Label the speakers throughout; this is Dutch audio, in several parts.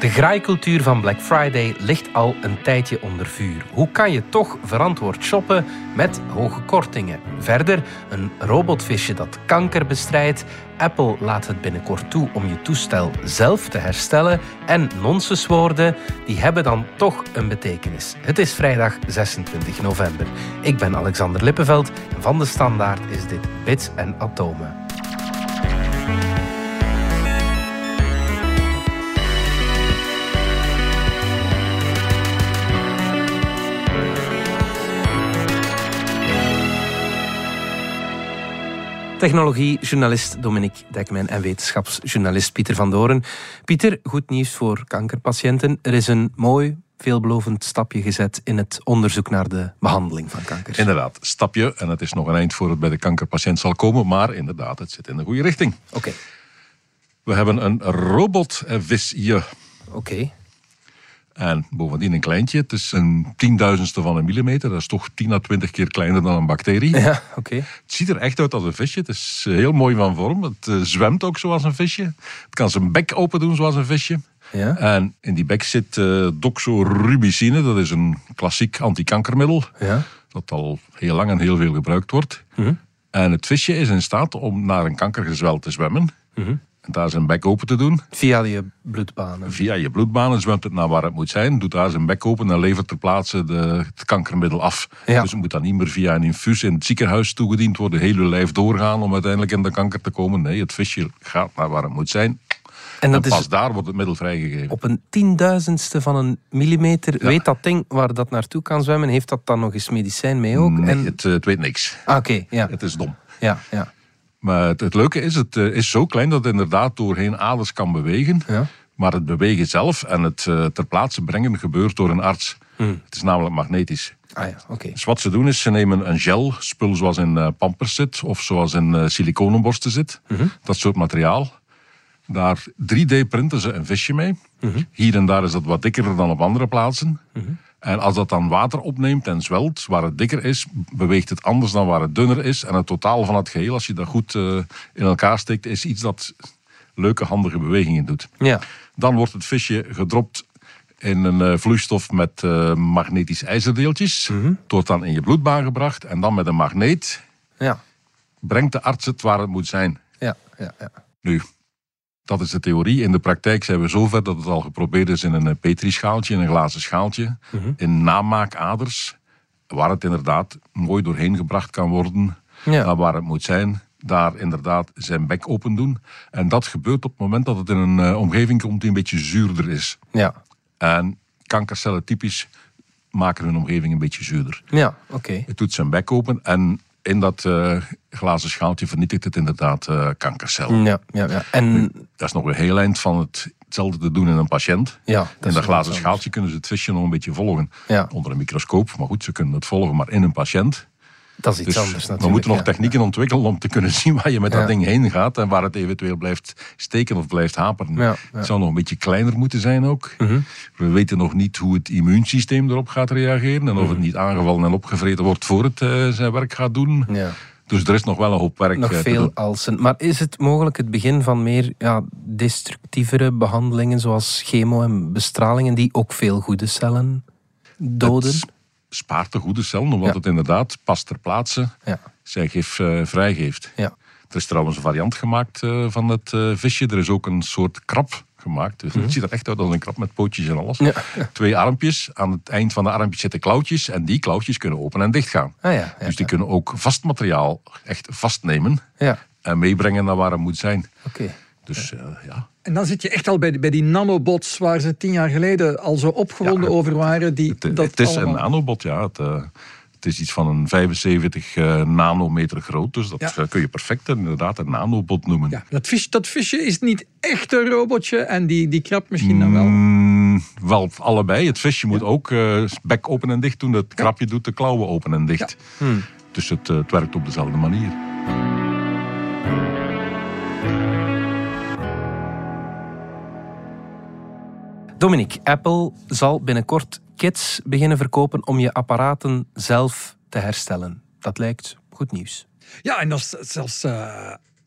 Speaker 1: De graaikultuur van Black Friday ligt al een tijdje onder vuur. Hoe kan je toch verantwoord shoppen met hoge kortingen? Verder, een robotvisje dat kanker bestrijdt. Apple laat het binnenkort toe om je toestel zelf te herstellen. En nonsenswoorden, die hebben dan toch een betekenis. Het is vrijdag 26 november. Ik ben Alexander Lippenveld en van de Standaard is dit Bits en Atomen. Technologiejournalist Dominique Dekmijn en wetenschapsjournalist Pieter van Doren. Pieter, goed nieuws voor kankerpatiënten. Er is een mooi, veelbelovend stapje gezet in het onderzoek naar de behandeling van kanker.
Speaker 2: Inderdaad, stapje. En het is nog een eind voor het bij de kankerpatiënt zal komen. Maar inderdaad, het zit in de goede richting.
Speaker 1: Oké,
Speaker 2: We hebben een robotvisje.
Speaker 1: oké.
Speaker 2: En bovendien een kleintje. Het is een tienduizendste van een millimeter. Dat is toch 10 à 20 keer kleiner dan een bacterie.
Speaker 1: Ja, oké.
Speaker 2: Het ziet er echt uit als een visje. Het is eh, heel mooi van vorm. Het eh, zwemt ook zoals een visje. Het kan zijn bek open doen zoals een visje.
Speaker 1: Ja.
Speaker 2: En in die bek zit eh, doxorubicine. Dat is een klassiek antikankermiddel.
Speaker 1: Ja. Mhm.
Speaker 2: Dat al heel lang en heel veel gebruikt wordt. En het visje is in staat om naar een kankergezwel te zwemmen.
Speaker 1: Mhm.
Speaker 2: En daar zijn bek open te doen.
Speaker 1: Via je bloedbanen.
Speaker 2: Via je bloedbanen zwemt het naar waar het moet zijn. Doet daar zijn bek open en levert ter plaatse de, het kankermiddel af.
Speaker 1: Ja.
Speaker 2: Dus het moet dan niet meer via een infuus in het ziekenhuis toegediend worden. Heel je lijf doorgaan om uiteindelijk in de kanker te komen. Nee, het visje gaat naar waar het moet zijn.
Speaker 1: En dat
Speaker 2: en pas
Speaker 1: is
Speaker 2: daar wordt het middel vrijgegeven.
Speaker 1: op een tienduizendste van een millimeter. Weet dat ding waar dat naartoe kan zwemmen? Heeft dat dan nog eens medicijn mee ook?
Speaker 2: Nee,
Speaker 1: En-
Speaker 2: het, eh, het weet niks.
Speaker 1: Ah, oké, ja.
Speaker 2: Het is dom.
Speaker 1: ja, ja.
Speaker 2: Maar het, het leuke is, het eh, is zo klein dat het inderdaad doorheen aders kan bewegen.
Speaker 1: Ja.
Speaker 2: Maar het bewegen zelf en het eh, ter plaatse brengen gebeurt door een arts.
Speaker 1: Hmm.
Speaker 2: Het is namelijk magnetisch.
Speaker 1: Ah ja, oké.
Speaker 2: Dus wat ze doen is, ze nemen een gel, spul zoals in eh, pampers zit of zoals in eh, siliconenborsten zit. Dat soort materiaal. Daar 3D-printen ze een visje mee. Hier en daar is dat wat dikker dan op andere plaatsen. En als dat dan water opneemt en zwelt, waar het dikker is, beweegt het anders dan waar het dunner is. En het totaal van het geheel, als je dat goed eh, in elkaar steekt, is iets dat leuke, handige bewegingen doet.
Speaker 1: Ja.
Speaker 2: Dan wordt het visje gedropt in een eh, vloeistof met eh, magnetisch ijzerdeeltjes. Het wordt dan in je bloedbaan gebracht en dan met een magneet
Speaker 1: Ja,
Speaker 2: brengt de arts het waar het moet zijn.
Speaker 1: ja, ja. ja.
Speaker 2: Nu, dat is de theorie. In de praktijk zijn we zover dat het al geprobeerd is in een eh, petrischaaltje, in een glazen schaaltje, in namaakaders, waar het inderdaad mooi doorheen gebracht kan worden,
Speaker 1: Ja.
Speaker 2: naar waar het moet zijn. Daar inderdaad zijn bek open doen. En dat gebeurt op het moment dat het in een eh, omgeving komt die een beetje zuurder is.
Speaker 1: Ja,
Speaker 2: En kankercellen typisch maken hun omgeving een beetje zuurder.
Speaker 1: ja oké.
Speaker 2: Het doet zijn bek open en in dat eh, glazen schaaltje vernietigt het inderdaad eh, kankercellen.
Speaker 1: Ja, ja, ja. En
Speaker 2: Dat is nog een heel eind van het- hetzelfde te doen in een patiënt.
Speaker 1: Ja, dat
Speaker 2: in
Speaker 1: is
Speaker 2: dat
Speaker 1: wel
Speaker 2: glazen
Speaker 1: anders.
Speaker 2: schaaltje kunnen ze het visje nog een beetje volgen.
Speaker 1: Ja.
Speaker 2: Onder een microscoop, maar goed, ze kunnen het volgen. Maar in een patiënt,
Speaker 1: dat is iets
Speaker 2: dus
Speaker 1: anders natuurlijk.
Speaker 2: we moeten nog
Speaker 1: ja.
Speaker 2: technieken ontwikkelen om te kunnen zien waar je met
Speaker 1: Ja.
Speaker 2: dat ding heen gaat en waar het eventueel blijft steken of blijft haperen.
Speaker 1: Ja, ja. Mhm.
Speaker 2: Het zou nog een beetje kleiner moeten zijn ook. We weten nog niet hoe het immuunsysteem erop gaat reageren en of
Speaker 1: Mhm.
Speaker 2: het niet aangevallen en opgevreten wordt voor het eh, zijn werk gaat doen.
Speaker 1: Ja.
Speaker 2: Dus er is nog wel een hoop werk
Speaker 1: Nog
Speaker 2: eh, te
Speaker 1: veel
Speaker 2: doen.
Speaker 1: alsen. Maar is het mogelijk het begin van meer ja, destructievere behandelingen zoals chemo en bestralingen die ook veel goede cellen doden?
Speaker 2: Het spaart de goede cellen, omdat
Speaker 1: Ja.
Speaker 2: het inderdaad pas ter plaatse
Speaker 1: Ja,
Speaker 2: zijn gif eh, vrijgeeft.
Speaker 1: ja.
Speaker 2: Er is trouwens een variant gemaakt eh, van het eh, visje. Er is ook een soort krab gemaakt. Dus Het ziet er echt uit als een krab met pootjes en alles.
Speaker 1: Mhm. Ja.
Speaker 2: Twee armpjes. Aan het eind van de armpjes zitten klauwtjes. En die klauwtjes kunnen open en dicht gaan.
Speaker 1: Ah ja, ja,
Speaker 2: dus die kunnen ook vast materiaal echt vastnemen.
Speaker 1: ja.
Speaker 2: En meebrengen naar waar het moet zijn.
Speaker 1: oké.
Speaker 2: Dus eh, ja,
Speaker 3: En dan zit je echt al bij, bij die nanobots waar ze tien jaar geleden al zo opgewonden
Speaker 2: Ja,
Speaker 3: over waren. Die,
Speaker 2: het, eh,
Speaker 3: dat
Speaker 2: het is
Speaker 3: allemaal-
Speaker 2: een nanobot. Ja. Het, eh, het is iets van een 75 eh, nanometer groot. Dus dat
Speaker 3: Ja.
Speaker 2: eh, kun je perfect inderdaad een nanobot noemen.
Speaker 3: Ja, dat, vis, dat visje is niet echt een robotje en die, die krab misschien dan wel.
Speaker 2: Mm, wel, allebei. Het visje moet ook eh bek open en dicht doen. Het krabje doet de klauwen open en dicht.
Speaker 4: Hmm.
Speaker 2: Dus het, eh, het werkt op dezelfde manier.
Speaker 1: Dominique, Apple zal binnenkort kits beginnen verkopen om je apparaten zelf te herstellen. Dat lijkt goed nieuws.
Speaker 3: Ja, en dat is zelfs eh,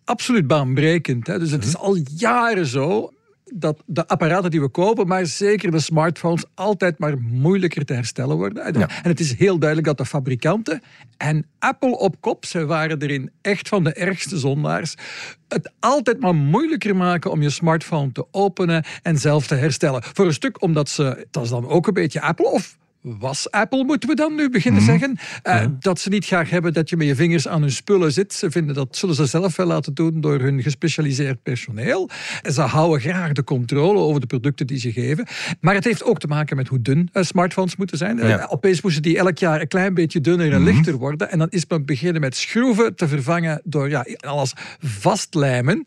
Speaker 3: absoluut baanbrekend. Hè. Dus het is al jaren zo. dat de apparaten die we kopen, maar zeker de smartphones, altijd maar moeilijker te herstellen worden. En, en het is heel duidelijk dat de fabrikanten en Apple op kop, ze waren erin echt van de ergste zondaars, het altijd maar moeilijker maken om je smartphone te openen en zelf te herstellen. Voor een stuk omdat ze, dat is dan ook een beetje Apple of was Apple, moeten we dan nu beginnen zeggen. Eh, Dat ze niet graag hebben dat je met je vingers aan hun spullen zit. Ze vinden dat zullen ze zelf wel laten doen door hun gespecialiseerd personeel. En ze houden graag de controle over de producten die ze geven. Maar het heeft ook te maken met hoe dun eh, smartphones moeten zijn. Eh,
Speaker 1: Ja.
Speaker 3: opeens moesten die elk jaar een klein beetje dunner en lichter worden. En dan is men beginnen met schroeven te vervangen door ja, alles vastlijmen.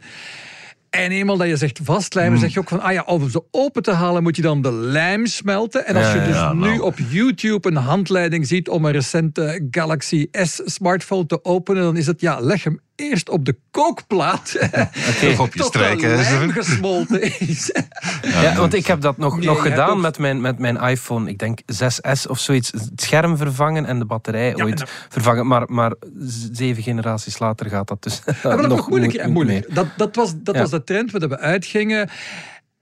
Speaker 3: En eenmaal dat je zegt vastlijmen, zeg je ook van, ah ja, om ze open te halen moet je dan de lijm smelten. En als
Speaker 1: Ja,
Speaker 3: je dus
Speaker 2: ja, nou.
Speaker 3: nu op YouTube een handleiding ziet om een recente Galaxy S smartphone te openen, dan is het, ja, leg hem eerst op de kookplaat.
Speaker 4: Terug op je
Speaker 3: Tot de
Speaker 4: strijken.
Speaker 3: lijm gesmolten is.
Speaker 1: Ja, want ik heb dat nog,
Speaker 3: Nee,
Speaker 1: nog
Speaker 3: jij
Speaker 1: gedaan
Speaker 3: toch?
Speaker 1: met, mijn, met mijn iPhone, ik denk 6S of zoiets. Het scherm vervangen en de batterij ooit vervangen. Maar, maar z- zeven generaties later gaat dat dus.
Speaker 3: Ja, maar dat nog
Speaker 1: moe-
Speaker 3: moeilijker en moeilijker. Dat, dat, was, dat
Speaker 1: Ja.
Speaker 3: was de trend waar we uitgingen.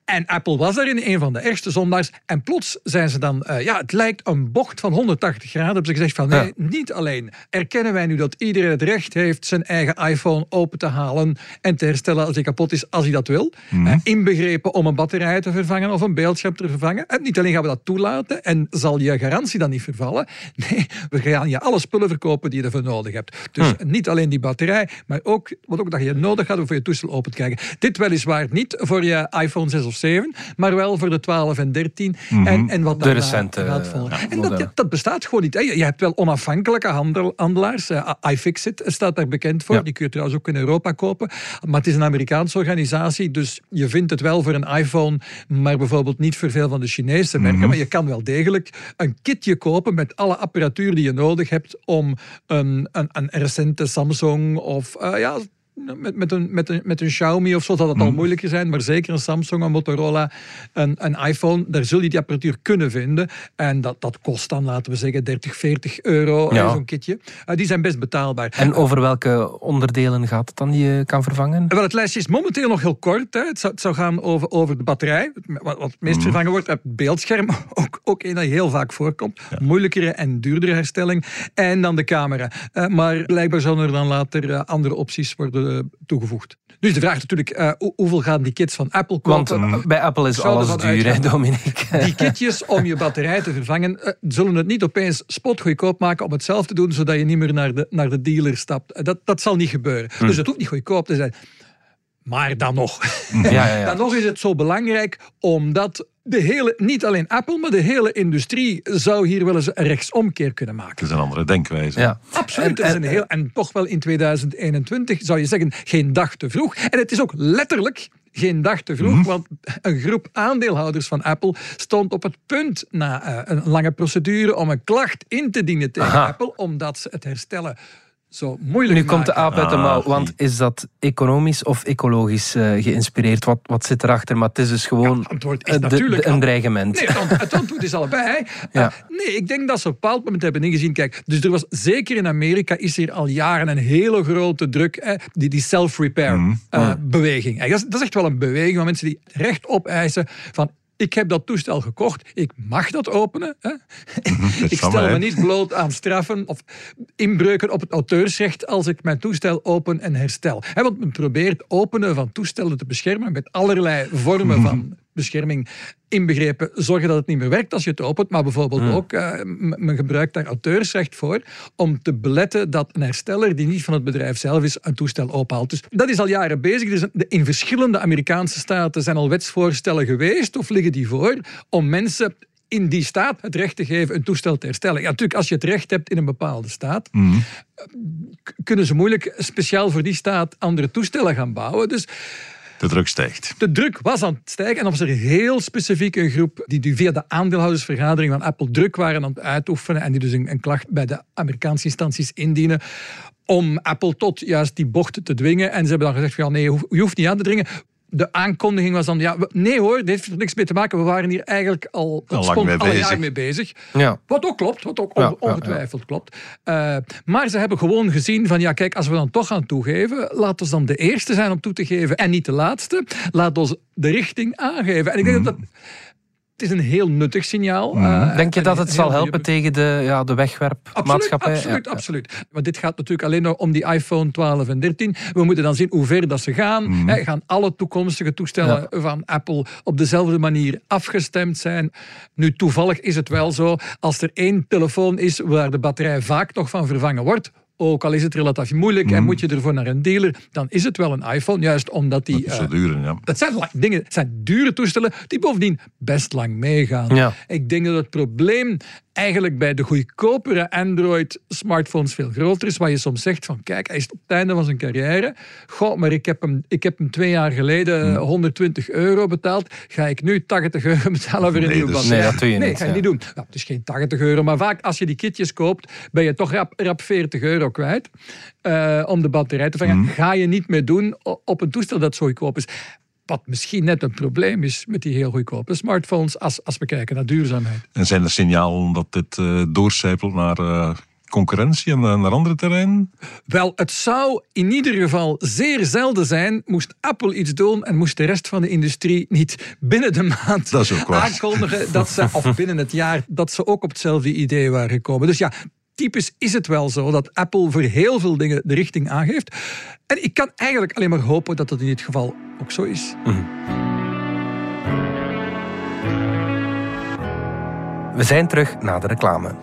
Speaker 3: En Apple was daarin een van de ergste zondaars. En plots zijn ze dan, eh, ja, het lijkt een bocht van 180 graden. Hebben ze gezegd van, nee,
Speaker 1: Ja.
Speaker 3: niet alleen erkennen wij nu dat iedereen het recht heeft zijn eigen iPhone open te halen en te herstellen als hij kapot is, als hij dat wil. Eh, inbegrepen om een batterij te vervangen of een beeldscherm te vervangen. En niet alleen gaan we dat toelaten en zal je garantie dan niet vervallen. Nee, we gaan je alle spullen verkopen die je ervoor nodig hebt. Dus
Speaker 1: Hm.
Speaker 3: niet alleen die batterij, maar ook wat ook dat je nodig had om voor je toestel open te krijgen. Dit weliswaar niet voor je iPhone 6 of 7, maar wel voor de 12 en 13 en, en wat
Speaker 1: Mhm. De
Speaker 3: daarna
Speaker 1: recente,
Speaker 3: gaat volgen.
Speaker 1: ja,
Speaker 3: en dat,
Speaker 1: modellen.
Speaker 3: dat bestaat gewoon niet. hè. Je je hebt wel onafhankelijke handel, handelaars. Eh, iFixit staat daar bekend voor.
Speaker 1: Ja.
Speaker 3: Die kun je trouwens ook in Europa kopen. Maar het is een Amerikaanse organisatie. Dus je vindt het wel voor een iPhone. Maar bijvoorbeeld niet voor veel van de Chinese merken.
Speaker 1: Mhm.
Speaker 3: Maar je kan wel degelijk een kitje kopen met alle apparatuur die je nodig hebt. om een, een, een recente Samsung of eh, ja. Met, met, een, met, een, met een Xiaomi of zo zal dat al moeilijker zijn, maar zeker een Samsung, een Motorola, een, een iPhone, daar zul je die apparatuur kunnen vinden. En dat, dat kost dan, laten we zeggen, 30, 40 euro, eh,
Speaker 1: Ja.
Speaker 3: zo'n kitje. Eh, die zijn best betaalbaar.
Speaker 1: En over welke onderdelen gaat het dan die je kan vervangen?
Speaker 3: Wel, het lijstje is momenteel nog heel kort. Hè. Het, zou, het zou gaan over, over de batterij, wat, wat het meest vervangen wordt. Het beeldscherm, ook, ook een dat heel vaak voorkomt. Moeilijkere en duurdere herstelling. En dan de camera. Eh, maar blijkbaar zullen er dan later eh, andere opties worden eh, toegevoegd. Dus de vraag is natuurlijk, eh, hoe- hoeveel gaan die kids van Apple
Speaker 1: Want
Speaker 3: kopen?
Speaker 1: eh, bij Apple is
Speaker 3: zou
Speaker 1: alles
Speaker 3: ervan
Speaker 1: duur, hè,
Speaker 3: uitgaan.
Speaker 1: Dominique.
Speaker 3: Die kitjes om je batterij te vervangen, eh, zullen het niet opeens spotgoedkoop maken om het zelf te doen, zodat je niet meer naar de, naar de dealer stapt. Eh, Dat, dat zal niet gebeuren. Dus het hoeft niet goedkoop te zijn. Maar dan nog.
Speaker 1: Ja, ja, ja.
Speaker 3: Dan nog is het zo belangrijk omdat de hele, niet alleen Apple, maar de hele industrie zou hier wel eens een rechtsomkeer kunnen maken.
Speaker 2: Het is een andere denkwijze.
Speaker 1: Ja.
Speaker 3: Absoluut. het is een heel, en toch wel in 2021 zou je zeggen, geen dag te vroeg. En het is ook letterlijk geen dag te
Speaker 1: Mhm.
Speaker 3: vroeg, want een groep aandeelhouders van Apple stond op het punt na eh, een lange procedure om een klacht in te dienen tegen
Speaker 1: Aha.
Speaker 3: Apple, omdat ze het herstellen zo moeilijk
Speaker 1: Nu komt de
Speaker 3: maken.
Speaker 1: aap uit de
Speaker 2: Ah,
Speaker 1: mouw,
Speaker 2: die.
Speaker 1: want is dat economisch of ecologisch eh, geïnspireerd? Wat, wat zit erachter? Maar het is dus gewoon
Speaker 3: het antwoord is
Speaker 1: eh, de-
Speaker 3: natuurlijk
Speaker 1: de- een
Speaker 3: al-
Speaker 1: dreigement.
Speaker 3: Nee, het ant- het antwoord is allebei. hè.
Speaker 1: Ja.
Speaker 3: Eh, nee, ik denk dat ze op een bepaald moment hebben ingezien. Kijk, dus er was zeker in Amerika is hier al jaren een hele grote druk. hè, die die self-repair-beweging. dat, is- dat is echt wel een beweging van mensen die recht opeisen van. Ik heb dat toestel gekocht. Ik mag dat openen. Hè?
Speaker 2: dat
Speaker 3: ik
Speaker 2: kan
Speaker 3: stel
Speaker 2: maar,
Speaker 3: me
Speaker 2: hè.
Speaker 3: niet bloot aan straffen of inbreuken op het auteursrecht als ik mijn toestel open en herstel. Hè, want men probeert openen van toestellen te beschermen met allerlei vormen van bescherming inbegrepen. Zorgen dat het niet meer werkt als je het opent, maar bijvoorbeeld ook, eh, m- men gebruikt daar auteursrecht voor om te beletten dat een hersteller die niet van het bedrijf zelf is, een toestel ophaalt. Dus dat is al jaren bezig. Dus in verschillende Amerikaanse staten zijn al wetsvoorstellen geweest of liggen die voor om mensen in die staat het recht te geven een toestel te herstellen. Ja, natuurlijk, als je het recht hebt in een bepaalde staat, eh, k- kunnen ze moeilijk speciaal voor die staat andere toestellen gaan bouwen. Dus
Speaker 2: De druk stijgt.
Speaker 3: de druk was aan het stijgen. En dan was er heel specifiek een groep die nu via de aandeelhoudersvergadering van Apple druk waren aan het uitoefenen. En die dus een, een klacht bij de Amerikaanse instanties indienen. Om Apple tot juist die bocht te dwingen. En ze hebben dan gezegd: van, ja, nee, je hoeft- je hoeft niet aan te dringen. de aankondiging was dan, ja, we- nee hoor, dit heeft er niks mee te maken. We waren hier eigenlijk al,
Speaker 4: Al lang
Speaker 3: stond
Speaker 4: mee
Speaker 3: al een
Speaker 4: bezig.
Speaker 3: jaar mee bezig.
Speaker 1: Ja.
Speaker 3: Wat ook klopt, wat ook
Speaker 1: Ja,
Speaker 3: on-
Speaker 1: ja, ja.
Speaker 3: ongetwijfeld klopt. Eh, maar ze hebben gewoon gezien van, ja kijk, als we dan toch gaan toegeven, laat ons dan de eerste zijn om toe te geven en niet de laatste. Laat ons de richting aangeven. En ik denk
Speaker 1: Mhm.
Speaker 3: dat dat... Het is een heel nuttig signaal. eh,
Speaker 1: Denk je
Speaker 3: en
Speaker 1: dat
Speaker 3: een
Speaker 1: het
Speaker 3: heel
Speaker 1: zal
Speaker 3: goede
Speaker 1: helpen tegen de, ja, de wegwerpmaatschappij?
Speaker 3: Absoluut,
Speaker 1: Ja.
Speaker 3: absoluut, absoluut. Want dit gaat natuurlijk alleen nog om die iPhone 12 en 13. We moeten dan zien hoe ver dat ze gaan.
Speaker 1: Mhm.
Speaker 3: Hè, gaan alle toekomstige toestellen van Apple op dezelfde manier afgestemd zijn? Nu, toevallig is het wel zo, als er één telefoon is waar de batterij vaak nog van vervangen wordt... Ook al is het relatief moeilijk
Speaker 1: Mhm.
Speaker 3: en moet je ervoor naar een dealer, dan is het wel een iPhone. Juist omdat die.
Speaker 2: Dat
Speaker 3: eh,
Speaker 2: zou duren, ja.
Speaker 3: dat zijn la- dingen, het zijn dure toestellen die bovendien best lang meegaan.
Speaker 1: Ja.
Speaker 3: Ik denk dat het probleem eigenlijk bij de goedkopere Android-smartphones veel groter is. Waar je soms zegt van, kijk, hij is op het einde van zijn carrière. Goh, maar ik heb hem, ik heb hem twee jaar geleden 120 euro betaald. Ga ik nu 80 euro betalen voor een
Speaker 4: Nee,
Speaker 3: nieuwe
Speaker 4: dat is-
Speaker 3: batterij?
Speaker 1: Nee, dat doe je
Speaker 3: nee,
Speaker 1: niet,
Speaker 3: ga
Speaker 1: ja.
Speaker 3: je niet doen. Nou, het is geen 80 euro, maar vaak als je die kitjes koopt, ben je toch rap, rap 40 euro kwijt eh, om de batterij te vangen. Ga je niet meer doen o- op een toestel dat zo goedkoop is. Wat misschien net een probleem is met die heel goedkope smartphones, als, als we kijken naar duurzaamheid.
Speaker 2: En zijn er signalen dat dit eh doorcijpelt naar eh, concurrentie en eh, naar andere terreinen?
Speaker 3: Wel, het zou in ieder geval zeer zelden zijn, moest Apple iets doen en moest de rest van de industrie niet binnen de maand
Speaker 4: Dat is ook waar.
Speaker 3: aankondigen dat ze, of binnen het jaar, dat ze ook op hetzelfde idee waren gekomen. Dus ja, typisch is het wel zo dat Apple voor heel veel dingen de richting aangeeft. En ik kan eigenlijk alleen maar hopen dat dat in dit geval ook zo is.
Speaker 1: We zijn terug na de reclame.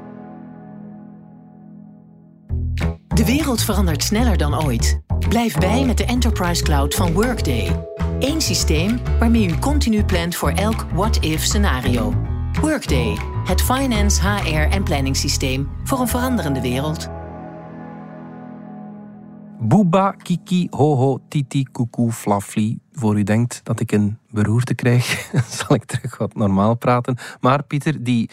Speaker 5: De wereld verandert sneller dan ooit. Blijf bij met de Enterprise Cloud van Workday. Eén systeem waarmee u continu plant voor elk what-if scenario. Workday, het finance, HR en planningssysteem voor een veranderende wereld.
Speaker 1: Booba, kiki, hoho, titi, koekoe, flafli. Voor u denkt dat ik een beroerte krijg, zal ik terug wat normaal praten. Maar Pieter, die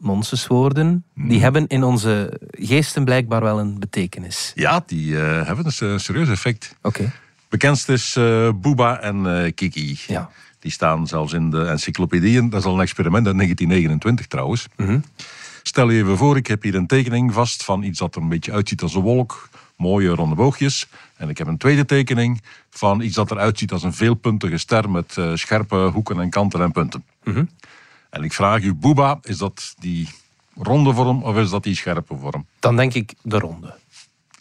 Speaker 1: nonsenswoorden,
Speaker 3: Hmm.
Speaker 1: die hebben in onze geesten blijkbaar wel een betekenis.
Speaker 2: Ja, die eh, hebben dus een serieus effect.
Speaker 1: Oké.
Speaker 2: Bekendst is eh Booba en eh, Kiki.
Speaker 1: Ja.
Speaker 2: Die staan zelfs in de encyclopedieën. Dat is al een experiment uit 1929 trouwens. Stel je even voor, ik heb hier een tekening vast van iets dat er een beetje uitziet als een wolk. Mooie ronde boogjes. En ik heb een tweede tekening van iets dat eruit ziet als een veelpuntige ster met eh, scherpe hoeken en kanten en punten. En ik vraag u, Booba, is dat die ronde vorm of is dat die scherpe vorm?
Speaker 1: Dan denk ik de ronde.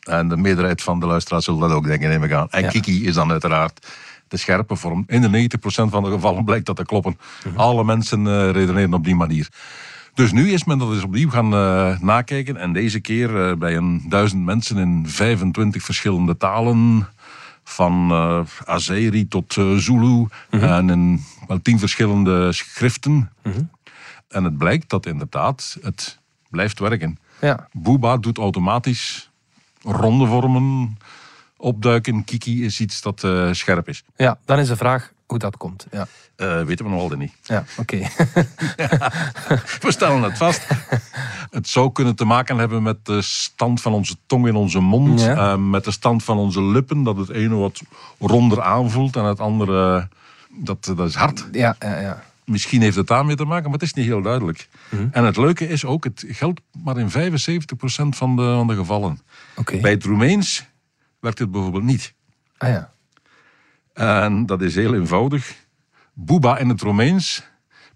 Speaker 2: En de meerderheid van de luisteraars zullen dat ook denken, neem ik aan. En
Speaker 1: Ja.
Speaker 2: Kiki is dan uiteraard de scherpe vorm. In de 90% van de gevallen blijkt dat te kloppen. Alle mensen eh, redeneren op die manier. Dus nu is men dat eens opnieuw gaan eh, nakijken. En deze keer eh, bij een duizend mensen in 25 verschillende talen. Van eh Azeri tot eh, Zulu. En in wel tien verschillende schriften. En het blijkt dat inderdaad het blijft werken.
Speaker 1: Ja.
Speaker 2: Booba doet automatisch ronde vormen opduiken. Kiki is iets dat eh, scherp is.
Speaker 1: ja, dan is de vraag hoe dat komt. Ja,
Speaker 2: Eh, weten we nog altijd niet.
Speaker 1: ja oké.
Speaker 2: We stellen het vast. het zou kunnen te maken hebben met de stand van onze tong in onze mond.
Speaker 1: Ja.
Speaker 2: eh, met de stand van onze lippen. Dat het ene wat ronder aanvoelt en het andere... eh, Dat, dat is hard.
Speaker 1: ja, ja, ja.
Speaker 2: Misschien heeft het daarmee te maken, maar het is niet heel duidelijk.
Speaker 1: Mhm.
Speaker 2: En het leuke is ook, het geldt maar in 75% van de, van de gevallen.
Speaker 1: Oké.
Speaker 2: Bij het Roemeens werkt het bijvoorbeeld niet.
Speaker 1: Ah ja.
Speaker 2: En dat is heel eenvoudig. Booba in het Romeins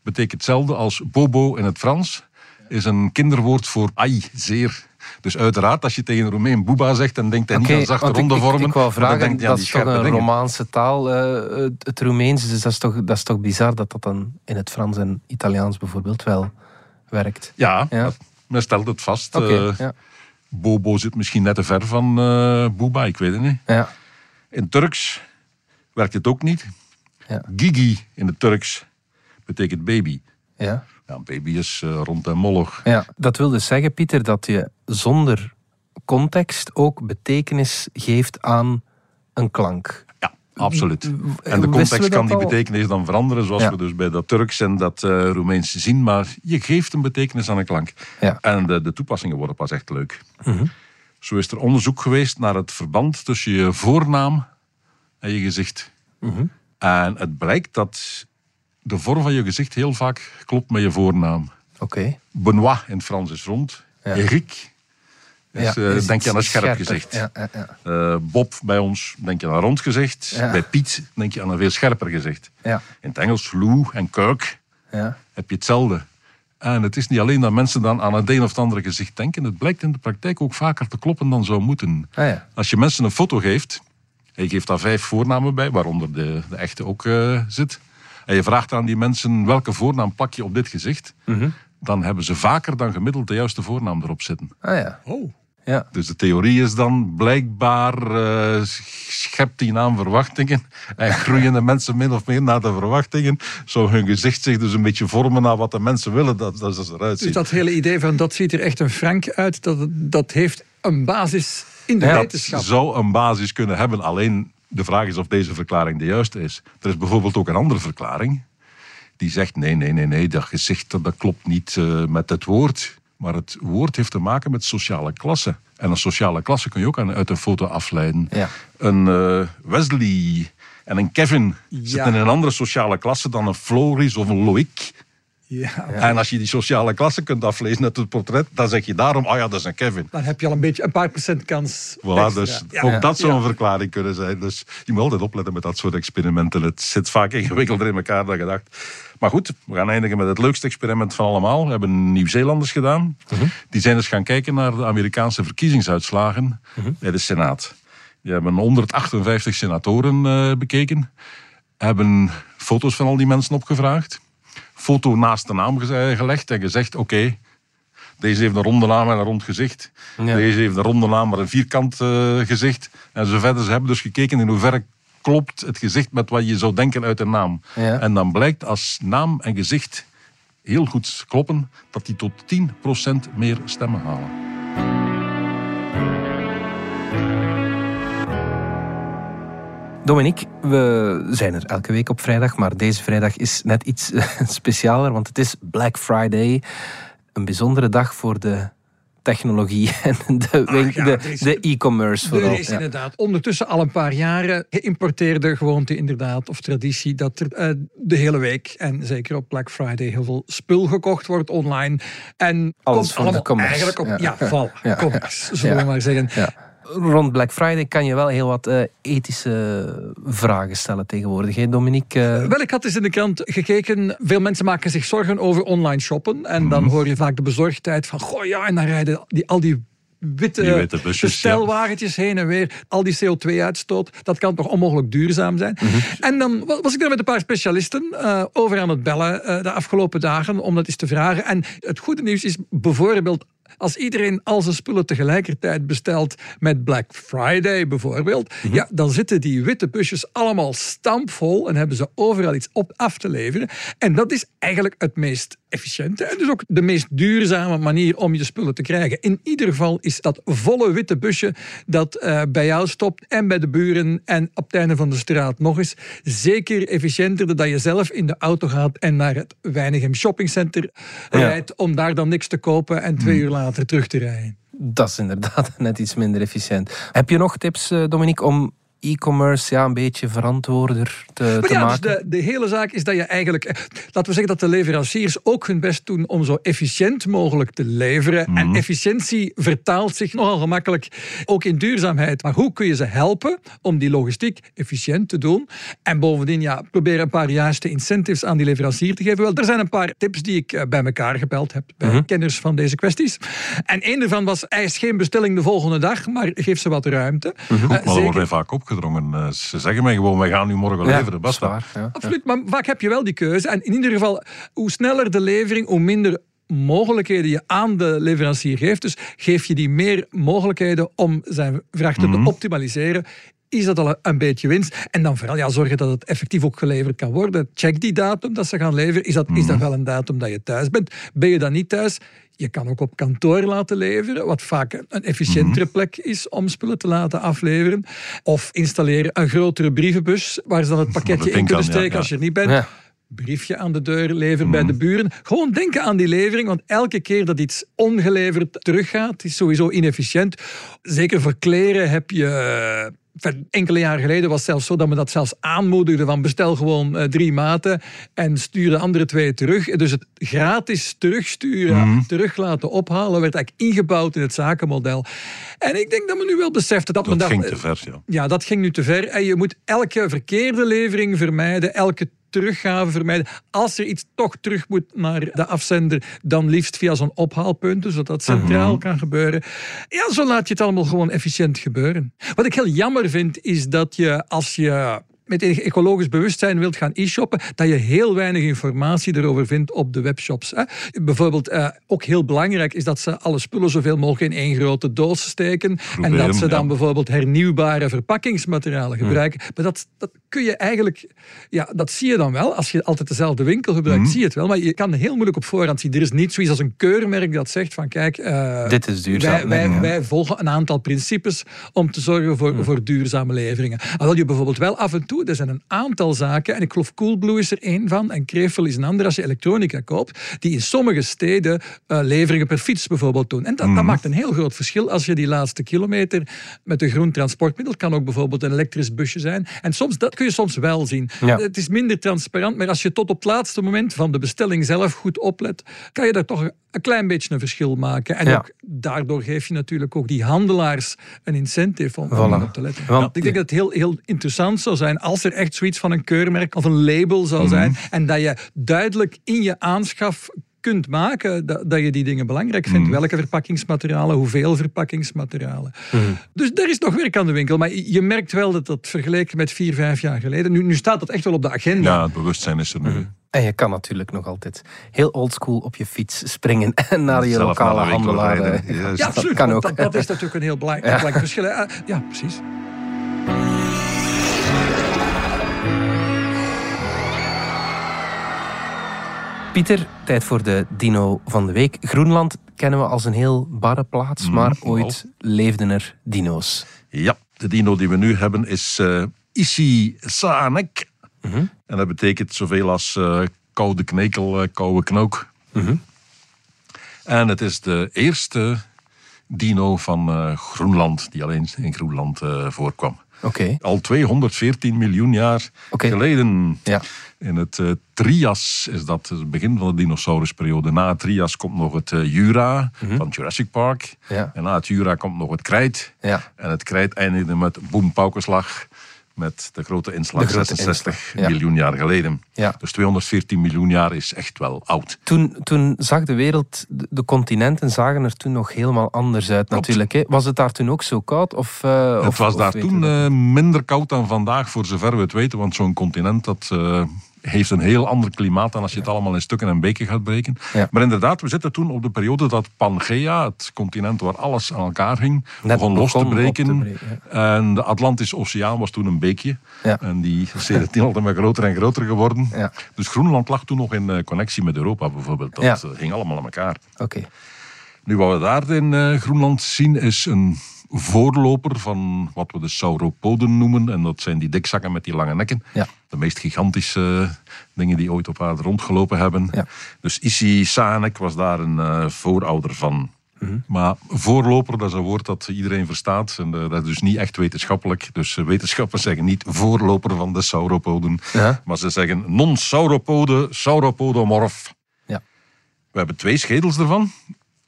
Speaker 2: betekent hetzelfde als bobo in het Frans. Is een kinderwoord voor ai, zeer. Dus uiteraard, als je tegen een Romein boeba zegt, dan denkt hij
Speaker 1: Oké,
Speaker 2: niet aan zachte
Speaker 1: want ik-
Speaker 2: ronde
Speaker 1: ik,
Speaker 2: vormen.
Speaker 1: Ik, wou
Speaker 2: maar dan
Speaker 1: vragen,
Speaker 2: denkt hij aan
Speaker 1: dat
Speaker 2: die
Speaker 1: is toch
Speaker 2: scherpe
Speaker 1: een
Speaker 2: dingen.
Speaker 1: Romaanse taal, eh, het- het Roemeens. Dus dat is, toch, dat is toch bizar dat dat dan in het Frans en Italiaans bijvoorbeeld wel werkt.
Speaker 2: Ja,
Speaker 1: Ja.
Speaker 2: dat- men stelt het vast.
Speaker 1: Oké,
Speaker 2: Eh,
Speaker 1: ja.
Speaker 2: Bobo zit misschien net te ver van eh boeba, ik weet het niet.
Speaker 1: Ja.
Speaker 2: In Turks werkt het ook niet.
Speaker 1: Ja.
Speaker 2: Gigi in het Turks betekent baby.
Speaker 1: Ja.
Speaker 2: Ja, baby is eh, rond en mollig.
Speaker 1: ja. Dat wil dus zeggen, Pieter, dat je zonder context ook betekenis geeft aan een klank.
Speaker 2: Ja, absoluut. En de
Speaker 1: wisten we
Speaker 2: context
Speaker 1: dat
Speaker 2: kan die
Speaker 1: al?
Speaker 2: betekenis dan veranderen, zoals
Speaker 1: Ja.
Speaker 2: we dus bij dat Turks en dat eh Roemeens zien. Maar je geeft een betekenis aan een klank.
Speaker 1: Ja. Mhm.
Speaker 2: En de, de toepassingen worden pas echt leuk. Zo is er
Speaker 1: Mhm.
Speaker 2: onderzoek geweest naar het verband tussen je voornaam en je gezicht. En het blijkt dat de vorm van je gezicht heel vaak klopt met je voornaam.
Speaker 1: Oké.
Speaker 2: Benoit in het Frans is rond. Eric. Is,
Speaker 1: Ja,
Speaker 2: eh,
Speaker 1: is
Speaker 2: denk je aan een scherp
Speaker 1: scherper.
Speaker 2: gezicht.
Speaker 1: Ja, ja, ja.
Speaker 2: Eh, Bob bij ons denk je aan een rond gezicht.
Speaker 1: Ja.
Speaker 2: Bij Piet denk je aan een veel scherper gezicht.
Speaker 1: Ja.
Speaker 2: In het Engels, Lou en Kirk
Speaker 1: ja.
Speaker 2: heb je hetzelfde. En het is niet alleen dat mensen dan aan het een of het andere gezicht denken. Het blijkt in de praktijk ook vaker te kloppen dan zou moeten.
Speaker 1: Ah, ja.
Speaker 2: Als je mensen een foto geeft, en je geeft daar vijf voornamen bij, waaronder de, de echte ook eh, zit. En je vraagt aan die mensen welke voornaam plak je op dit gezicht.
Speaker 1: Mhm.
Speaker 2: Dan hebben ze vaker dan gemiddeld de juiste voornaam erop zitten.
Speaker 1: Ah ja.
Speaker 3: Oh.
Speaker 1: Ja.
Speaker 2: Dus de theorie is dan blijkbaar eh, schept die naam verwachtingen. En groeien de mensen min of meer naar de verwachtingen. Zo hun gezicht zich dus een beetje vormen naar wat de mensen willen dat, dat ze eruit zien.
Speaker 3: Dus dat hele idee van dat ziet er echt een frank uit, dat, dat heeft een basis in
Speaker 1: Ja,
Speaker 3: de
Speaker 1: dat
Speaker 2: Dat
Speaker 3: wetenschap.
Speaker 2: zou een basis kunnen hebben. Alleen de vraag is of deze verklaring de juiste is. Er is bijvoorbeeld ook een andere verklaring. Die zegt, nee, nee, nee, nee, dat gezicht dat, dat klopt niet eh, met het woord. Maar het woord heeft te maken met sociale klasse. En een sociale klasse kun je ook aan, uit een foto afleiden.
Speaker 1: Ja.
Speaker 2: Een eh, Wesley en een Kevin zitten in een andere sociale klasse dan een Floris of een Loïc.
Speaker 3: Ja,
Speaker 2: En als je die sociale klasse kunt aflezen uit het portret, dan zeg je daarom, ah ja, dat is een Kevin.
Speaker 3: dan heb je al een beetje een paar procent kans.
Speaker 2: Voilà,
Speaker 3: extra.
Speaker 2: dus
Speaker 3: Ja.
Speaker 2: ook
Speaker 1: Ja.
Speaker 2: dat zou een verklaring kunnen zijn. Dus je moet altijd opletten met dat soort experimenten. Het zit vaak ingewikkelder in elkaar dan gedacht. Maar goed, we gaan eindigen met het leukste experiment van allemaal. We hebben Nieuw-Zeelanders gedaan.
Speaker 3: Mhm.
Speaker 2: Die zijn eens gaan kijken naar de Amerikaanse verkiezingsuitslagen
Speaker 3: Mhm.
Speaker 2: bij de Senaat. Die hebben 158 senatoren eh, bekeken. Hebben foto's van al die mensen opgevraagd. Foto naast de naam geze- gelegd en gezegd, oké, deze heeft een ronde naam en een rond gezicht.
Speaker 1: Ja.
Speaker 2: Deze heeft een ronde naam, maar een vierkant eh, gezicht. En zo verder. Ze hebben dus gekeken in hoeverre klopt het gezicht met wat je zou denken uit een naam.
Speaker 1: Ja.
Speaker 2: En dan blijkt als naam en gezicht heel goed kloppen, dat die tot 10% meer stemmen halen.
Speaker 1: Dominique, we zijn er elke week op vrijdag, maar deze vrijdag is net iets eh, specialer, want het is Black Friday. Een bijzondere dag voor de technologie en de win-
Speaker 3: ja,
Speaker 1: de-
Speaker 3: er is-
Speaker 1: de e-commerce
Speaker 3: Er
Speaker 1: vooral.
Speaker 3: is
Speaker 1: Ja.
Speaker 3: inderdaad ondertussen al een paar jaren geïmporteerde gewoonte inderdaad, of traditie, dat er eh, de hele week en zeker op Black Friday heel veel spul gekocht wordt online. En
Speaker 1: Alles van
Speaker 3: komt
Speaker 1: de
Speaker 3: allemaal
Speaker 1: commerce.
Speaker 3: Eigenlijk op,
Speaker 1: Ja.
Speaker 3: ja, voilà,
Speaker 1: Ja.
Speaker 3: commerce, zullen
Speaker 1: Ja.
Speaker 3: we maar zeggen.
Speaker 1: Ja. Rond Black Friday kan je wel heel wat eh, ethische vragen stellen tegenwoordig, hè Dominique? Eh,
Speaker 3: Wel, ik had eens in de krant gekeken. Veel mensen maken zich zorgen over online shoppen. En
Speaker 1: Mhm.
Speaker 3: dan hoor je vaak de bezorgdheid van... Goh ja, en dan rijden die, al die witte,
Speaker 2: Die witte busjes,
Speaker 3: bestelwagentjes eh, heen en weer. Al die CO2-uitstoot. Dat kan toch onmogelijk duurzaam zijn? En dan wa- was ik daar met een paar specialisten eh, over aan het bellen eh, de afgelopen dagen. Om dat eens te vragen. En het goede nieuws is bijvoorbeeld... Als iedereen al zijn spullen tegelijkertijd bestelt met Black Friday bijvoorbeeld, ja, dan zitten die witte busjes allemaal stampvol en hebben ze overal iets op af te leveren. En dat is eigenlijk het meest efficiënte en dus ook de meest duurzame manier om je spullen te krijgen. In ieder geval is dat volle witte busje dat eh, bij jou stopt en bij de buren en op het einde van de straat nog eens zeker efficiënter dan je zelf in de auto gaat en naar het Weinigem Shoppingcenter
Speaker 1: Ja.
Speaker 3: rijdt om daar dan niks te kopen en twee uur later terug te rijden.
Speaker 1: Dat is inderdaad net iets minder efficiënt. Heb je nog tips, eh, Dominique, om e-commerce ja, een beetje verantwoorder te, eh, te
Speaker 3: Maar ja, dus
Speaker 1: maken?
Speaker 3: de, de hele zaak is dat je eigenlijk, eh, laten we zeggen dat de leveranciers ook hun best doen om zo efficiënt mogelijk te leveren.
Speaker 1: Mhm.
Speaker 3: En efficiëntie vertaalt zich nogal gemakkelijk ook in duurzaamheid. Maar hoe kun je ze helpen om die logistiek efficiënt te doen? En bovendien, ja, probeer een paar juiste incentives aan die leverancier te geven. Wel, er zijn een paar tips die ik eh, bij elkaar gebeld heb, bij
Speaker 1: Mhm.
Speaker 3: kenners van deze kwesties. En één daarvan was, eis geen bestelling de volgende dag, maar geef ze wat ruimte.
Speaker 1: Mhm.
Speaker 3: Eh,
Speaker 2: Goed, maar dat
Speaker 3: zeker-
Speaker 2: wordt mij vaak opgedrongen. Eh, Ze zeggen mij gewoon, wij gaan nu morgen
Speaker 1: Ja,
Speaker 2: leveren. Basta.
Speaker 1: dat is waar, ja.
Speaker 3: Absoluut, maar vaak heb je wel die keuze. En in ieder geval, hoe sneller de levering, hoe minder mogelijkheden je aan de leverancier geeft. Dus geef je die meer mogelijkheden om zijn vracht te optimaliseren. Is dat al een beetje winst? En dan vooral ja, zorgen dat het effectief ook geleverd kan worden. Check die datum dat ze gaan leveren. Is dat, is dat wel een datum dat je thuis bent? Ben je dan niet thuis? Je kan ook op kantoor laten leveren, wat vaak een efficiëntere plek is om spullen te laten afleveren. Of installeer een grotere brievenbus waar ze dan het pakketje
Speaker 2: ding
Speaker 3: in kunnen
Speaker 2: kan, ja,
Speaker 3: steken
Speaker 2: ja. Mm.
Speaker 3: als je er niet bent.
Speaker 1: Ja.
Speaker 3: Briefje aan de deur, lever bij de buren. Gewoon denken aan die levering, want elke keer dat iets ongeleverd teruggaat, is sowieso inefficiënt. Zeker voor kleren heb je enfin, enkele jaren geleden was het zelfs zo dat men dat zelfs aanmoedigde van bestel gewoon eh, drie maten en stuur de andere twee terug. Dus het gratis terugsturen,
Speaker 2: Mm.
Speaker 3: terug laten ophalen, werd eigenlijk ingebouwd in het zakenmodel. En ik denk dat men nu wel beseft dat, men
Speaker 2: Dat
Speaker 3: dat...
Speaker 2: ging te ver, ja.
Speaker 3: Ja, dat ging nu te ver. En je moet elke verkeerde levering vermijden, elke teruggave vermijden. Als er iets toch terug moet naar de afzender, dan liefst via zo'n ophaalpunt, dus dat dat centraal kan gebeuren. Ja, zo laat je het allemaal gewoon efficiënt gebeuren. Wat ik heel jammer vind, is dat je als je met enig ecologisch bewustzijn wilt gaan e-shoppen, dat je heel weinig informatie erover vindt op de webshops. Hè. Bijvoorbeeld, eh, ook heel belangrijk is dat ze alle spullen zoveel mogelijk in één grote doos steken. en
Speaker 2: Proberen,
Speaker 3: dat ze dan
Speaker 2: ja.
Speaker 3: bijvoorbeeld hernieuwbare verpakkingsmaterialen gebruiken. Maar dat, dat kun je eigenlijk, ja, dat zie je dan wel. Als je altijd dezelfde winkel gebruikt, zie je het wel. Maar je kan heel moeilijk op voorhand zien. Er is niet zoiets als een keurmerk dat zegt van kijk, eh,
Speaker 1: Dit is duurzaam. Mm.
Speaker 3: Wij, wij,
Speaker 1: Ja.
Speaker 3: wij volgen een aantal principes om te zorgen voor, voor duurzame leveringen. Alhoewel je bijvoorbeeld wel af en toe, er zijn een aantal zaken, en ik geloof Coolblue is er één van, en Krefel is een ander als je elektronica koopt, die in sommige steden eh, leveringen per fiets bijvoorbeeld doen. En dat,
Speaker 1: Mhm.
Speaker 3: dat maakt een heel groot verschil als je die laatste kilometer met een groen transportmiddel, het kan ook bijvoorbeeld een elektrisch busje zijn, en soms, dat kun je soms wel zien.
Speaker 1: Ja.
Speaker 3: Het is minder transparant, maar als je tot op het laatste moment van de bestelling zelf goed oplet, kan je daar toch een klein beetje een verschil maken. En
Speaker 1: Ja.
Speaker 3: ook daardoor geef je natuurlijk ook die handelaars een incentive om, om
Speaker 1: Voilà.
Speaker 3: op te letten.
Speaker 1: Want-
Speaker 3: Ja, ik denk dat het heel, heel interessant zou zijn als er echt zoiets van een keurmerk of een label
Speaker 1: Mhm.
Speaker 3: zou zijn. En dat je duidelijk in je aanschaf kunt maken dat, dat je die dingen belangrijk
Speaker 1: Mhm.
Speaker 3: vindt. Welke verpakkingsmaterialen, hoeveel verpakkingsmaterialen.
Speaker 1: Mhm.
Speaker 3: Dus daar is nog werk aan de winkel. Maar je merkt wel dat dat vergeleken met vier, vijf jaar geleden... Nu, nu staat dat echt wel op de agenda.
Speaker 2: Ja, het bewustzijn is er nu.
Speaker 1: En je kan natuurlijk nog altijd heel oldschool op je fiets springen en naar je
Speaker 2: Zelf
Speaker 1: lokale
Speaker 2: naar de winkel
Speaker 1: handelaar.
Speaker 2: rijden.
Speaker 1: eh,
Speaker 2: Ja,
Speaker 1: gaan.
Speaker 2: Dus
Speaker 3: Ja,
Speaker 2: dat
Speaker 3: absoluut.
Speaker 1: kan
Speaker 3: want
Speaker 1: ook.
Speaker 3: Dat, dat is natuurlijk een heel belangrijk, belangrijk verschil. hè. Ah, Ja, precies.
Speaker 1: Pieter, tijd voor de dino van de week. Groenland kennen we als een heel barre plaats,
Speaker 2: Mhm,
Speaker 1: maar ooit leefden er dino's.
Speaker 2: Ja, de dino die we nu hebben is eh Issy Saanek. En dat betekent zoveel als eh, koude knekel, eh, koude knook. En het is de eerste dino van eh, Groenland, die alleen in Groenland eh, voorkwam.
Speaker 1: Oké.
Speaker 2: Al 214 miljoen jaar
Speaker 1: Oké.
Speaker 2: geleden.
Speaker 1: Ja.
Speaker 2: In het eh, Trias is dat het begin van de dinosaurusperiode. Na het Trias komt nog het eh, Jura van Jurassic Park.
Speaker 1: Mhm. Ja.
Speaker 2: En na het Jura komt nog het Krijt.
Speaker 1: Ja.
Speaker 2: En het Krijt eindigde met boempaukenslag. Met de grote inslag
Speaker 1: De grote
Speaker 2: 66
Speaker 1: inslag, ja.
Speaker 2: miljoen jaar geleden.
Speaker 1: Ja.
Speaker 2: Dus 214 miljoen jaar is echt wel oud.
Speaker 1: Toen, toen zag de wereld, de de continenten zagen er toen nog helemaal anders uit natuurlijk. Hè? Was het daar toen ook zo koud? Of, eh,
Speaker 2: het
Speaker 1: of-
Speaker 2: was
Speaker 1: of
Speaker 2: daar
Speaker 1: weten
Speaker 2: toen
Speaker 1: we dat?
Speaker 2: eh, minder koud dan vandaag, voor zover we het weten. Want zo'n continent dat, eh, heeft een heel ander klimaat dan als je het allemaal in stukken en beken gaat breken.
Speaker 1: Ja.
Speaker 2: Maar inderdaad, we zitten toen op de periode dat Pangea, het continent waar alles aan elkaar hing,
Speaker 1: Net
Speaker 2: begon los te
Speaker 1: begon op te
Speaker 2: breken.
Speaker 1: breken,
Speaker 2: En de Atlantische Oceaan was toen een beekje.
Speaker 1: Ja.
Speaker 2: En die is sindsdien altijd maar groter en groter geworden.
Speaker 1: Ja.
Speaker 2: Dus Groenland lag toen nog in eh, connectie met Europa bijvoorbeeld. Dat
Speaker 1: Ja.
Speaker 2: eh, hing allemaal aan elkaar.
Speaker 1: Oké.
Speaker 2: Nu, wat we daar in eh, Groenland zien, is een voorloper van wat we de sauropoden noemen. En dat zijn die dikzakken met die lange nekken.
Speaker 1: Ja.
Speaker 2: De meest gigantische eh, dingen die ooit op aarde rondgelopen hebben.
Speaker 1: Ja.
Speaker 2: Dus Issi Sanek was daar een eh, voorouder van.
Speaker 1: Mhm.
Speaker 2: Maar voorloper, dat is een woord dat iedereen verstaat. En eh, dat is dus niet echt wetenschappelijk. Dus eh, wetenschappers zeggen niet voorloper van de sauropoden.
Speaker 1: Ja.
Speaker 2: Maar ze zeggen non-sauropode, sauropodomorf.
Speaker 1: Ja.
Speaker 2: We hebben twee schedels ervan.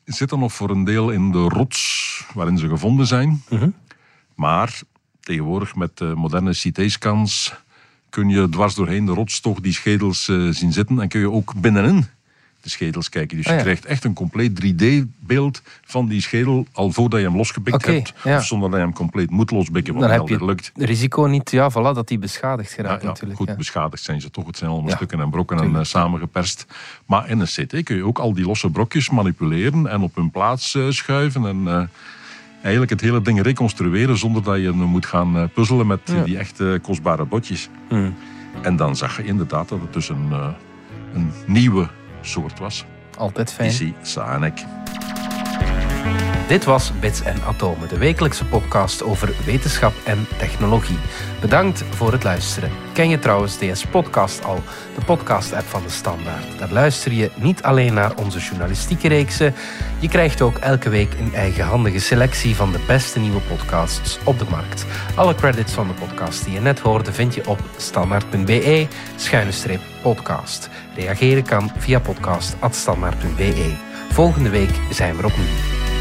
Speaker 2: Zitten nog voor een deel in de rots waarin ze gevonden zijn.
Speaker 1: Mhm.
Speaker 2: Maar tegenwoordig met de moderne CT-scans kun je dwars doorheen de rots toch die schedels eh, zien zitten. En kun je ook binnenin de schedels kijken. Dus
Speaker 1: Ah,
Speaker 2: je
Speaker 1: ja.
Speaker 2: krijgt echt een compleet 3D-beeld van die schedel al voordat je hem losgepikt
Speaker 1: Oké,
Speaker 2: hebt.
Speaker 1: ja.
Speaker 2: Of zonder dat je hem compleet moet losbikken, wat
Speaker 1: Dan
Speaker 2: niet
Speaker 1: heb je
Speaker 2: altijd lukt.
Speaker 1: het risico niet, ja, voilà, dat die beschadigd
Speaker 2: Ja,
Speaker 1: geraakt
Speaker 2: ja,
Speaker 1: natuurlijk.
Speaker 2: goed
Speaker 1: ja.
Speaker 2: beschadigd zijn ze toch. Het zijn allemaal
Speaker 1: Ja,
Speaker 2: stukken en brokken en eh, samengeperst. Maar in een CT kun je ook al die losse brokjes manipuleren en op hun plaats eh, schuiven. En eh, eigenlijk het hele ding reconstrueren zonder dat je eh, moet gaan eh, puzzelen met eh, die echte kostbare botjes.
Speaker 1: Hmm.
Speaker 2: En dan zag je inderdaad dat het dus een, eh, een nieuwe soort was.
Speaker 1: Altijd fijn.
Speaker 2: Issy Saanek.
Speaker 1: Dit was Bits en Atomen, de wekelijkse podcast over wetenschap en technologie. Bedankt voor het luisteren. Ken je trouwens DS Podcast al, de podcast-app van de Standaard? Daar luister je niet alleen naar onze journalistieke reeksen, je krijgt ook elke week een eigenhandige selectie van de beste nieuwe podcasts op de markt. Alle credits van de podcast die je net hoorde vind je op E standaard.be-podcast. Reageren kan via podcast.standaard.be. Volgende week E. zijn we er opnieuw.